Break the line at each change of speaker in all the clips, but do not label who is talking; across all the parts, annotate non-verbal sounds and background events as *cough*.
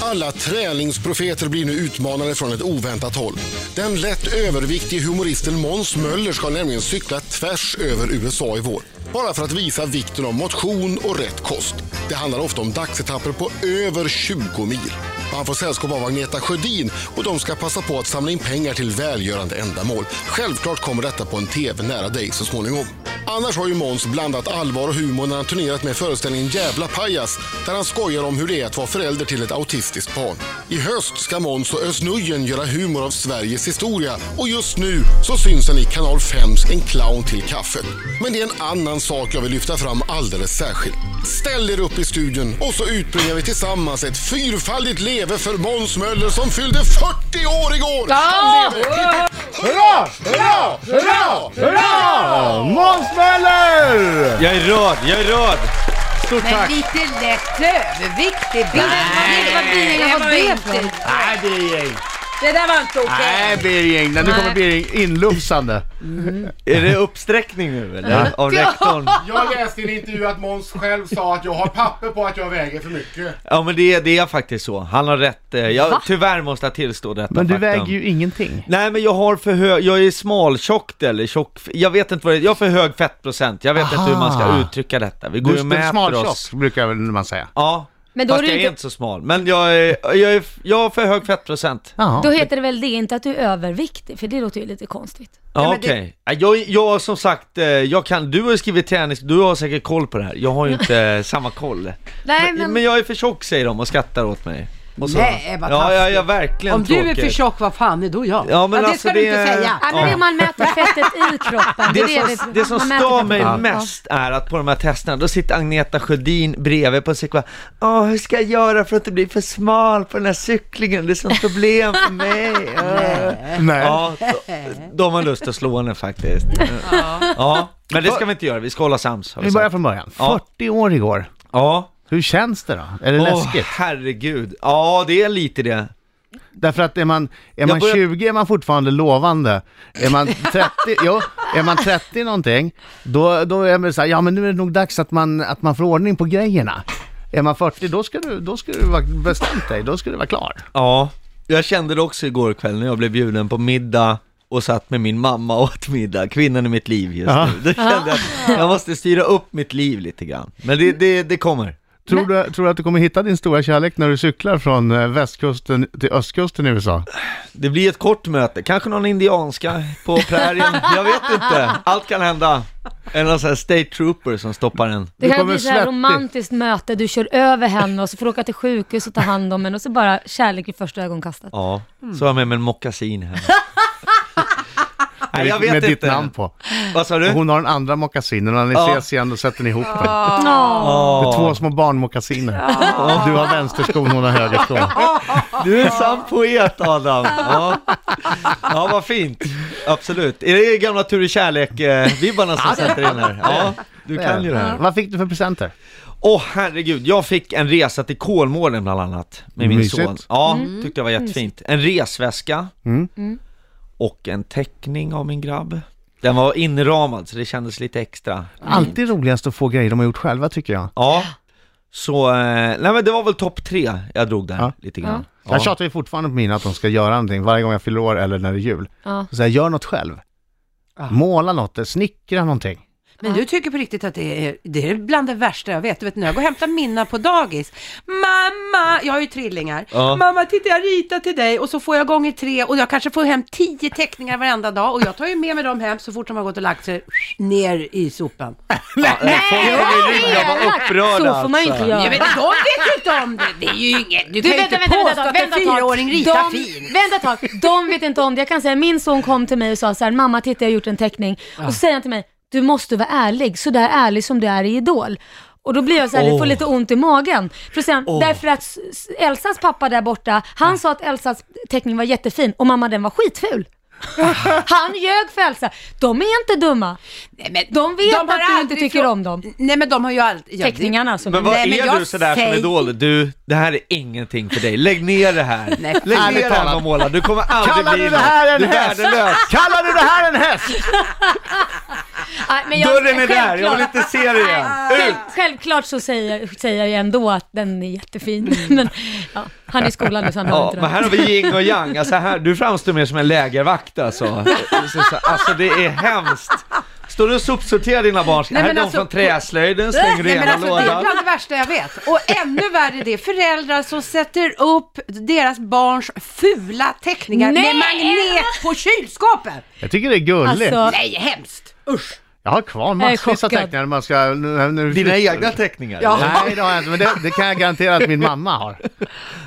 Alla träningsprofeter blir nu utmanade från ett oväntat håll. Den lätt överviktige humoristen Måns Möller ska nämligen cykla tvärs över USA i vår. Bara för att visa vikten av motion och rätt kost. Det handlar ofta om dagsetapper på över 20 mil. Han får sällskap av Agneta Sjödin och de ska passa på att samla in pengar till välgörande ändamål. Självklart kommer detta på en TV nära dig så småningom. Annars har ju Måns blandat allvar och humor när han turnerat med föreställningen Jävla pajas där han skojar om hur det är att vara förälder till ett autistiskt barn. I höst ska Måns och Özz Nujen göra humor av Sveriges historia och just nu så syns han i Kanal 5s En clown till kaffet. Men det är en annan sak jag vill lyfta fram alldeles särskilt. Ställ er upp i studion och så utbringar vi tillsammans ett fyrfaldigt leve för Måns Möller som fyllde 40 år igår!
Ja!
Hurra! Hurra! Hurra! Hurra! Måns Möller!
Jag är rörd, jag är rörd! Stort
Men
tack!
lite lätt överviktig. Vad är- vad blir det? Vad
var
blir det
inte-
för?
Nej, Birging.
Det där var inte okej.
Nej, Birging. Nu kommer Birging inlufsande.
Är det uppsträckning nu eller? Av rektorn?
Jag läste i en intervju att Måns själv sa att jag har papper på att jag väger för mycket.
Ja men det, är- det är faktiskt så, han har rätt. Eh, Jag, tyvärr måste jag tillstå detta
Men du
faktum.
väger ju ingenting.
Nej men jag har för hög, jag är smaltjockt eller tjock, jag vet inte vad det är, jag har för hög fettprocent, jag vet inte hur man ska
Aha.
uttrycka detta. Vi går
Ah. Du
ju
är
med
smal
för oss.
tjock, brukar väl man säga.
Ja,
Men då
fast
är du
jag är
inte-
inte så smal. Men jag, är, jag, är, jag har för hög fettprocent.
Jaha.
Då heter det väl det inte att du är överviktig, för det låter ju lite konstigt.
Ja,
men det-
okej. Ja, Jag, jag som sagt, eh, jag kan, du har ju skrivit tennis, du har säkert koll på det här. Jag har
*laughs*
ju inte eh, samma koll.
Nej,
men...
men-
jag är för tjock säger de och skrattar åt mig. Och så.
Nej, vad
Ja, jag är
taskigt.
verkligen
Om du är
tråkig.
för tjock, vad fan är då jag?
Ja, men
det
alltså,
ska du
det
inte
är-
säga.
Ja, men det är om man mäter fettet *laughs* i kroppen.
Det,
är
som,
vi-
det som
man mäter
stör
fettet.
mig
Ja.
mest är att på de här testerna, då sitter Agneta Sjödin bredvid på en cykel och bara, Åh, hur ska jag göra för att inte bli för smal på den här cyklingen? Det är sånt problem för mig. Äh.
Nej.
Ja,
Eh,
då har man lust att slå henne faktiskt. Ja, men det ska vi inte göra, vi ska hålla sams. har
Vi
sagt.
börjar från början.
Ja.
40 år igår.
Ja.
Hur känns det då? Är det
Åh,
läskigt?
herregud. Ja, det är lite det.
Därför att är man, är man
börjar-
20 är man fortfarande lovande. Är
*laughs*
man 30, jo, är man 30 någonting, då, då är man så här, ja men nu är det nog dags att man, att man får ordning på grejerna. Är man 40, då ska du, då ska du vara bestämt dig, då ska du vara klar.
Ja, jag kände det också igår kväll när jag blev bjuden på middag och satt med min mamma och åt middag, kvinnan i mitt liv just
Ja.
nu. Då kände jag att jag måste styra upp mitt liv lite grann. Men det, det, det kommer.
Tror du, tror du att du kommer hitta din stora kärlek när du cyklar från eh, västkusten till östkusten i USA?
Det blir ett kort möte, kanske någon indianska på prärien, jag vet inte. Allt kan hända. Eller någon sån här state trooper som stoppar en.
Det
Du
kan
kommer
bli så här
svettig.
romantiskt möte, du kör över henne och så får du åka till sjukhus och ta hand om henne och så bara kärlek i första ögonkastet.
Ja,
Mm.
så har jag med mig en
*laughs*
mockasin här. Nej, jag vet
med ditt
inte.
namn på.
Vad sa du?
Hon har en andra mockasinen och när ni
Ja.
ses igen då sätter ni ihop den.
Ja.
Det är två små barnmockasiner. Du har vänsterskon, hon har högerskon.
Du är en sann poet Adam! Ja. ja, vad fint! Absolut. Är det gamla Tur i kärlek-vibbarna som sätter in här? Ja, du kan ju det här.
Vad fick du för presenter?
Åh herregud, jag fick en resa till Kolmården bland annat med min
Mysigt.
son. Ja, tyckte jag var jättefint. En resväska och en teckning av min grabb. Den var inramad så det kändes lite extra.
Alltid roligast att få grejer de har gjort själva tycker jag.
Ja, så, eh, nej men det var väl topp tre jag drog där
Ja.
lite grann.
Jag tjatar ju fortfarande på mina att de ska göra någonting varje gång jag fyller år eller när det är jul.
Ja.
Så jag gör något själv. Måla något, eh, snickra någonting.
Men du tycker på riktigt att det är, det är bland det värsta jag vet. Du vet när jag går och hämtar Minna på dagis. Mamma, jag har ju trillingar.
Ja.
Mamma, titta jag ritar till dig och så får jag gånger tre och jag kanske får hem tio teckningar varenda dag och jag tar ju med mig dem hem så fort de har gått och lagt sig ner i sopan.
Nej, folk kommer ringa och vara upprörda
Så får man ju inte
alltså.
göra.
Ja, men de vet ju inte om det. Det är ju inget. Du,
Du,
kan ju
vänta,
inte
vänta,
påstå
vänta,
att
vänta,
en
ett tag.
fyraåring ritar
de,
fin.
Vänta ett tag, de vet inte om det. Jag kan säga, min son kom till mig och sa så här, mamma titta jag har gjort en teckning.
Ah.
Och så säger han till mig, du måste vara ärlig, så där ärlig som du är i Idol. Och då blir jag så här, jag får
Åh.
lite ont i magen. För sen, Därför att s- s- Elsas pappa där borta, han
Ah.
sa att Elsas teckning var jättefin och mamma den var
*laughs*
skitful. Han ljög för Elsa. De är inte dumma.
Nej, men
De vet
har
att du inte
aldrig
tycker
frå-
om dem.
Nej men de har ju aldrig... ja, det-
Teckningarna alltså. som
Men vad
Nej, men
är
jag
du sådär som är
säger-
dålig? Du, det här är ingenting för dig. Lägg ner det här.
Nej,
Lägg
ärligt
ner det här
talat.
med att måla. Du kommer aldrig
Kallar
bli
du det
någon.
här en
Du är
häst?
värdelös.
Kallar du det här en häst?
Nej, men
Dörren är där, jag vill
självklart-
inte se det igen.
Nej, Ah. själv- Självklart så säger, säger jag ändå att den är jättefin. *laughs* Men ja, han är i skolan nu så han hör
Ja,
inte
men
det.
här har vi yin och yang. Alltså här, du framstår mer som en lägervakt alltså. Så- så- Alltså det är hemskt. Står du och sopsorterar dina barn?
Nej,
här är
men
de
alltså-
från träslöjden, släng
Nej, men
rena
alltså, det är
lådan.
bland det värsta jag vet. Och ännu värre är det föräldrar som sätter upp deras barns fula teckningar
Nej!
med magnet på kylskåpet.
Jag tycker det är gulligt.
Alltså,
Nej, hemskt! Usch!
Jag har kvar massvis av
chockad.
teckningar man ska... När, när du
Dina
flyttar.
egna teckningar?
Nej, det har jag inte, men det, det kan jag garantera att min mamma har.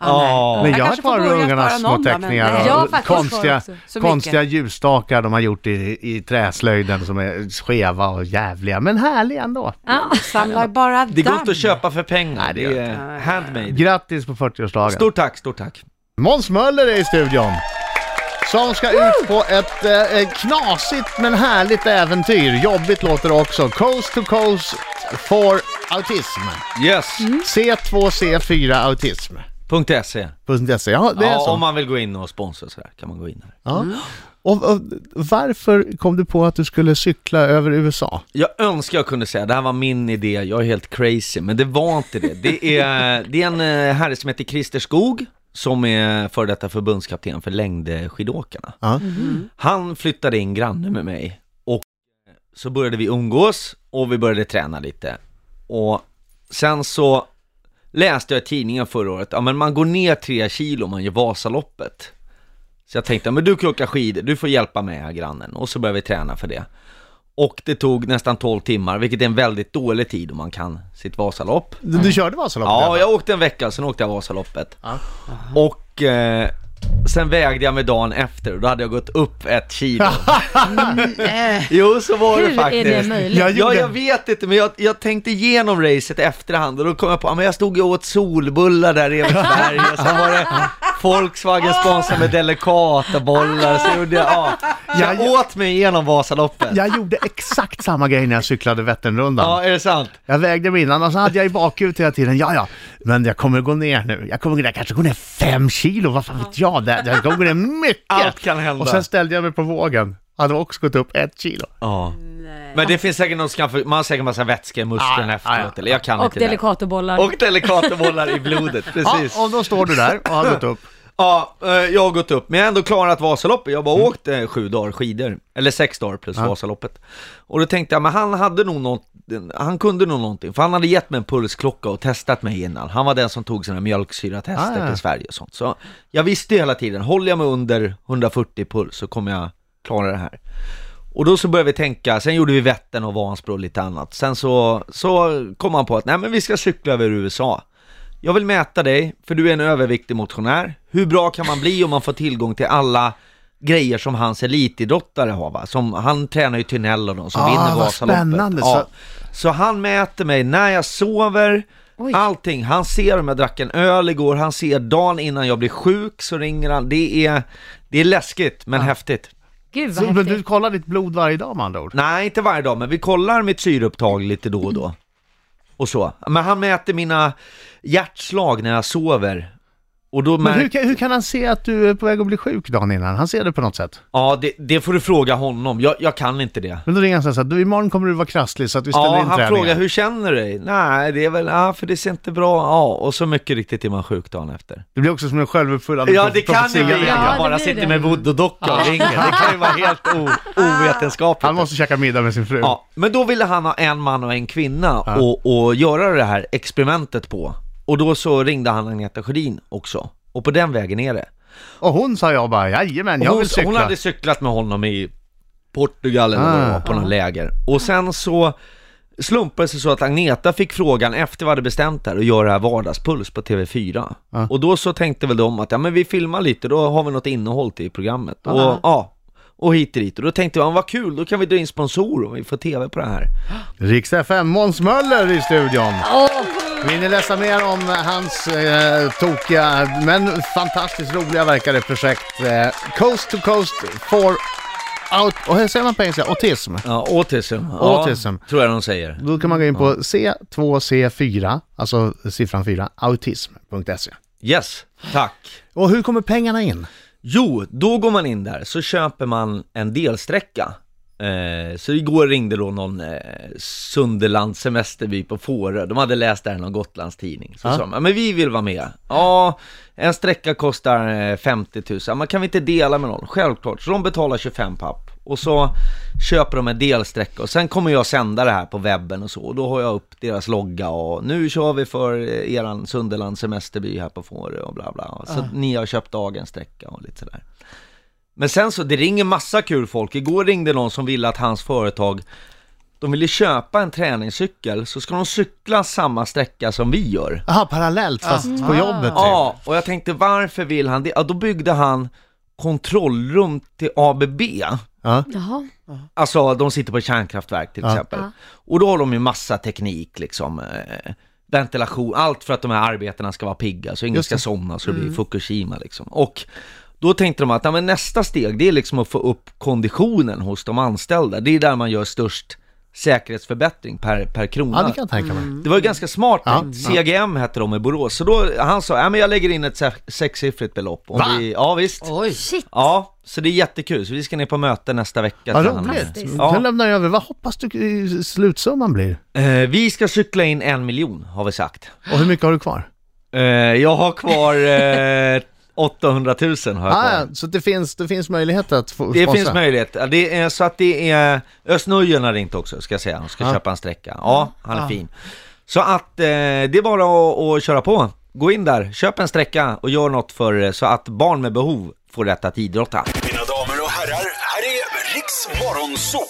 Ja.
Men jag har
kanske får
kvar
börja
ungarnas
spara
små
någon då, men-
teckningar
Jag
har
och
faktiskt kvar
konstiga,
också,
så mycket.
konstiga ljusstakar de har gjort i, i träslöjden som är skeva och jävliga, men härliga ändå.
ja.
Samlar bara
Det går
damm.
inte att köpa för pengar.
Nej, det gör
Det är handmade.
Grattis på 40-årsdagen!
Stort tack, stort tack.
Måns Möller är i studion. Som ska ut på ett eh, knasigt men härligt äventyr. Jobbigt låter det också. Coast to coast for autism.
Yes.
C2C4autism.
.se.
.se. Ja, det är
E. Ja,
så.
om man vill gå in och sponsra så här kan man gå in här.
Ja. Och, och, varför kom du på att du skulle cykla över USA?
Jag önskar jag kunde säga det här var min idé, jag är helt crazy, men det var inte det. Det är, det är en eh, herre som heter Christer Skog som är före detta förbundskapten för längdskidåkarna.
Ja.
Han flyttade in granne med mig och så började vi umgås och vi började träna lite. Och sen så läste jag i tidningen förra året, ja men man går ner tre kilo om man gör Vasaloppet. Så jag tänkte, men du kan åka skidor, du får hjälpa mig här grannen. Och så började vi träna för det. Och det tog nästan 12 timmar, vilket är en väldigt dålig tid om man kan sitt Vasalopp.
Du, du körde Vasaloppet?
Ja,
eller?
jag åkte en vecka, sen åkte jag Vasaloppet. Och eh, sen vägde jag mig dagen efter och då hade jag gått upp ett kilo. jo, så var det
Hur är
faktiskt.
det möjligt?
Jag
Ja,
gjorde-
jag vet inte, men jag, jag tänkte igenom racet i efterhand och då kom jag på, ah, men jag stod ju och åt solbullar där i Eversberg och sen var det Volkswagen sponsrade med delikata bollar, så gjorde jag, ja. Jag
Jag-
åt mig igenom Vasaloppet.
Jag gjorde exakt samma grej när jag cyklade Vätternrundan.
Ja, är det sant?
Jag vägde mig innan och så hade jag i bakhuvudet hela tiden, ja ja, men jag kommer gå ner nu. Jag kommer gå ner, jag kanske går ner fem kilo, vad fan vet jag? Det- Jag kommer gå ner mycket!
Allt kan hända.
Och sen ställde jag mig på vågen, hade också gått upp ett kilo.
Ja. Men det finns säkert någon som kan, för- man har säkert massa vätska i musklerna
Ja,
efteråt,
ja, ja.
eller jag kan
Och
inte det.
delikatobollar.
Och delikatobollar i blodet,
Ja,
precis. Ja,
och då står du där och har gått
*laughs*
upp.
eh, jag har gått upp, men jag har ändå klarat Vasaloppet. Jag har
Mm.
bara åkt eh, sju dagar skidor, eller sex dagar plus Vasaloppet. Och då tänkte jag, men han hade nog något, han kunde nog någonting, för han hade gett mig en pulsklocka och testat mig innan. Han var den som tog sina mjölksyratester
Ah.
till Sverige och sånt. Så jag visste ju hela tiden, håller jag mig under 140 puls så kommer jag klara det här. Och då så började vi tänka, sen gjorde vi Vättern och Vansbro och lite annat. Sen så, så kom han på att, nej men vi ska cykla över USA. Jag vill mäta dig, för du är en överviktig motionär. Hur bra kan man bli om man får tillgång till alla grejer som hans elitidrottare har va? Som, han tränar ju Tynell och de som
Ah,
vinner
vad
Vasaloppet.
spännande.
Ja. Så han mäter mig när jag sover, allting. Han ser om jag drack en öl igår, han ser dagen innan jag blir sjuk så ringer han. Det är, det är läskigt men häftigt.
Gud vad
Så, men du
häftigt.
kollar ditt blod varje dag med andra ord?
Nej, inte varje dag, men vi kollar mitt syreupptag lite då och då. Och så. Men han mäter mina hjärtslag när jag sover. Och då
Men hur,
märker...
kan- hur kan han se att du är på väg att bli sjuk dagen innan? Han ser det på något sätt.
Ja, det, det får du fråga honom. Jag, jag kan inte det.
Men då ringer han sen så här, du imorgon kommer du vara krasslig så att vi ställer
Ja,
in
han
träningen.
frågar hur känner du dig? Nej, det är väl, ja, för det ser inte bra, ja, och så mycket riktigt är man sjuk dagen efter.
Det blir också som en självuppfyllande
Ja,
prof-
det kan ju
profetia.
bli,
Ja,
jag
det
bara
blir
sitter
det.
med voodoo-docka och ringer. Det kan ju vara helt o, ovetenskapligt.
Han måste käka middag med sin fru.
Ja, men då ville han ha en man och en kvinna och, och göra det här experimentet på. Och då så ringde han Agneta Sjödin också. Och på den vägen är det.
Och hon sa jag bara, jajamän,
Och
jag
hon,
vill cykla. Ah.
hon hade cyklat med honom i Portugal eller vad det var, på någon läger. Och sen så slumpade det sig så att Agneta fick frågan efter vi hade bestämt där att göra det här vardagspuls på TV4.
Ah.
Och då så tänkte väl de att, ja men vi filmar lite, då har vi något innehåll till programmet.
Ah.
Och, ja, och hit och dit. Och då tänkte jag, vad kul, då kan vi dra in sponsorer och vi får TV på det här.
Riks FM, Måns Möller i studion. Vill ni läsa mer om hans eh, tokiga men fantastiskt roliga verkade projekt eh, Coast to Coast for out, och här säger man på engelska, autism.
Ja, autism.
Autism.
Ja, tror jag de säger.
Då kan man gå in på C2C4, alltså siffran 4, autism.se.
Yes, tack.
Och hur kommer pengarna in?
Jo, då går man in där så köper man en delsträcka. Eh, Eh, så igår ringde då någon eh, Sunderlands semesterby på Fårö. De hade läst det här i någon Gotlandstidning. Så
Ja.
sa de, "Ja, men vi vill vara med. Ja, en sträcka kostar eh, 50 000. Ja, Men kan vi inte dela med någon? Självklart. Så de betalar 25 papp. Och så köper de en delsträcka och sen kommer jag sända det här på webben och så. Och då har jag upp deras logga och nu kör vi för eh, eran Sunderlands semesterby här på Fårö och bla bla. Så ni har köpt dagens sträcka och lite sådär. Men sen så, det ringer massa kul folk. Igår ringde någon som ville att hans företag, de ville köpa en träningscykel, så ska de cykla samma sträcka som vi gör.
Jaha, parallellt fast på jobbet typ.
Ja, och jag tänkte varför vill han det? Ja, då byggde han kontrollrum till ABB.
Ja.
Jaha.
Alltså, de sitter på ett kärnkraftverk till
Ja.
exempel.
Ja.
Och då har de ju massa teknik liksom. eh, Ventilation, allt för att de här arbetarna ska vara pigga, så ingen
Just
ska
det.
somna så det blir Fukushima liksom. Och då tänkte de att ja, men nästa steg, det är liksom att få upp konditionen hos de anställda. Det är där man gör störst säkerhetsförbättring per, per krona.
ja, det kan jag tänka mig.
Det var ju ganska smart
Ja,
tänkt. CGM hette de i Borås, så då, han sa, ja men jag lägger in ett se- sexsiffrigt belopp. Om
Va?
vi, ja visst.
Oj.
Shit.
Ja, så det är jättekul, så vi ska ner på möte nästa vecka.
Vad
till honom.
roligt.
Fantastiskt.
Nu
Ja.
lämnar jag över. Vad hoppas du eh, slutsumman blir?
Eh, vi ska cykla in en miljon, har vi sagt.
Och hur mycket har du kvar?
Eh, jag
*laughs*
har kvar eh, 800 000 har jag
Ah,
kvar.
ja, så det finns, det finns möjlighet att få
Det
sponsra?
finns möjlighet. Ja, Det är, så att det är... Östnöjen har ringt också, ska jag säga. Han ska
Ja.
köpa en sträcka. Ja, han är fin. Så att eh, det är bara att, att köra på. Gå in där, köp en sträcka och gör något för eh, så att barn med behov får rätt att idrotta.
Mina damer och herrar, här är Riks Morgonzoo!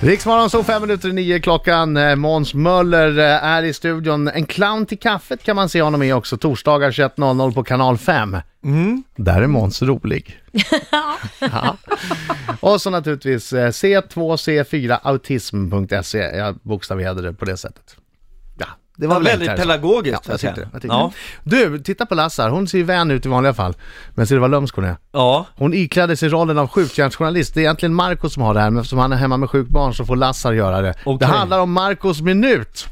Riksmorgon så fem minuter i nio klockan. Eh, Måns Möller eh, är i studion. En clown till kaffet kan man se honom i också. Torsdagar 21.00 på kanal 5.
Mm.
Där är Måns rolig. ja. Och så naturligtvis eh, c2c4autism.se. Jag bokstaverade det på det sättet. Ja, det var
Ja,
väl
väldigt
enklare så.
pedagogiskt,
Ja,
får
jag
jag
tyckte,
säga.
det, jag tyckte
Ja.
det. Du, titta på Lassar. Hon ser ju vän ut i vanliga fall. Men ser du vad lömsk hon är?
Ja,
Hon iklädde sig rollen av skjutjärnsjournalist. Det är egentligen Marco som har det här, men eftersom han är hemma med sjukt barn så får Lassar göra det. Det
Okej.
handlar om Marcos minut.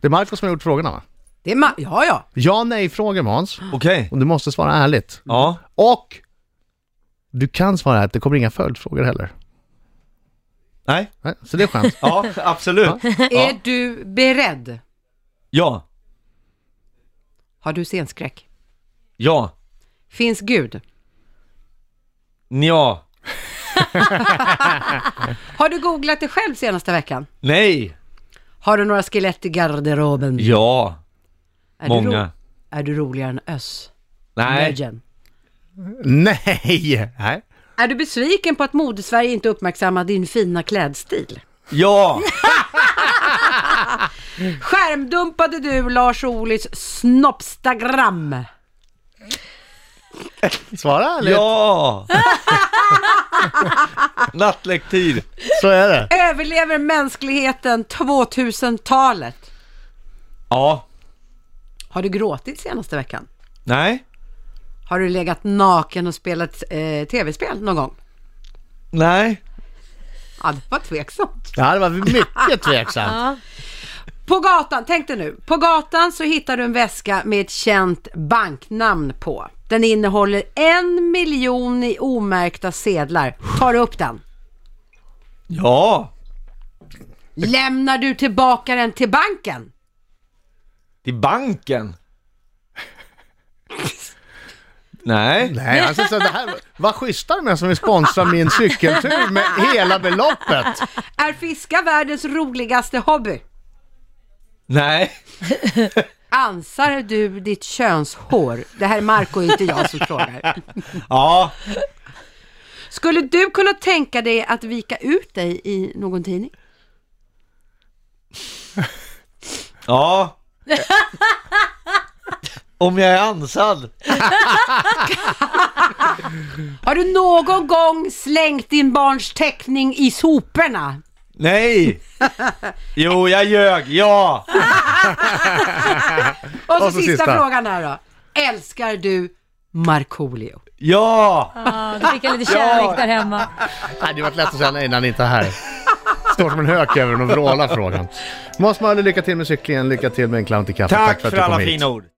Det är Marco som har gjort frågorna va?
Det är ma- ja, ja.
Ja nej-frågor Måns.
okej.
Och du måste svara ärligt.
Ja.
Och du kan svara ärligt, det kommer inga följdfrågor heller.
Nej.
Nej, Så det är
*laughs*
skönt.
Ja, absolut. Ja.
Är du beredd?
Ja.
Har du scenskräck?
Ja.
Finns Gud?
Nja.
Har du googlat dig själv senaste veckan?
Nej.
Har du några skelett i garderoben?
Ja.
är Du ro-
Många.
är du roligare än Öss?
Nej.
Legend.
nej! nej.
Är du besviken på att Modesverige inte uppmärksammar din fina klädstil?
Ja.
Skärmdumpade du Lars Ohlys snoppstagram?
Svara ärligt,
Ja. *laughs* Nattlektyr.
så är det.
Överlever mänskligheten 2000-talet?
Ja.
Har du gråtit senaste veckan?
Nej.
Har du legat naken och spelat eh, tv-spel någon gång?
Nej.
Ja, det var tveksamt.
Ja, det var mycket tveksamt.
På gatan, tänk dig nu. På gatan så hittar du en väska med ett känt banknamn på. Den innehåller en miljon i omärkta sedlar. Tar du upp den?
Ja.
Lämnar du tillbaka den till banken?
Till banken? Nej.
Nej, alltså, så det här, vad schyssta de är som vill sponsra min cykeltur med hela beloppet.
Är fiska världens roligaste hobby?
Nej.
Ansar du ditt könshår? Det här är Marco, inte jag som frågar.
Ja.
Skulle du kunna tänka dig att vika ut dig i någon tidning?
Ja. Om jag är ansad?
Har du någon gång slängt din barns teckning i soporna?
Nej. Jo, jag ljög. Ja.
Och så,
Och så
sista,
sista.
frågan här då. Älskar du Markoolio?
Ja.
Ja, du fick jag lite kärlek där hemma.
Det hade ju varit lätt att säga nej när han inte är här. Står som en hök över den och vrålar frågan. Måns Möller, lycka till med cyklingen, lycka till med en clown till kaffe.
Tack för
du kom
alla
hit.
fina ord.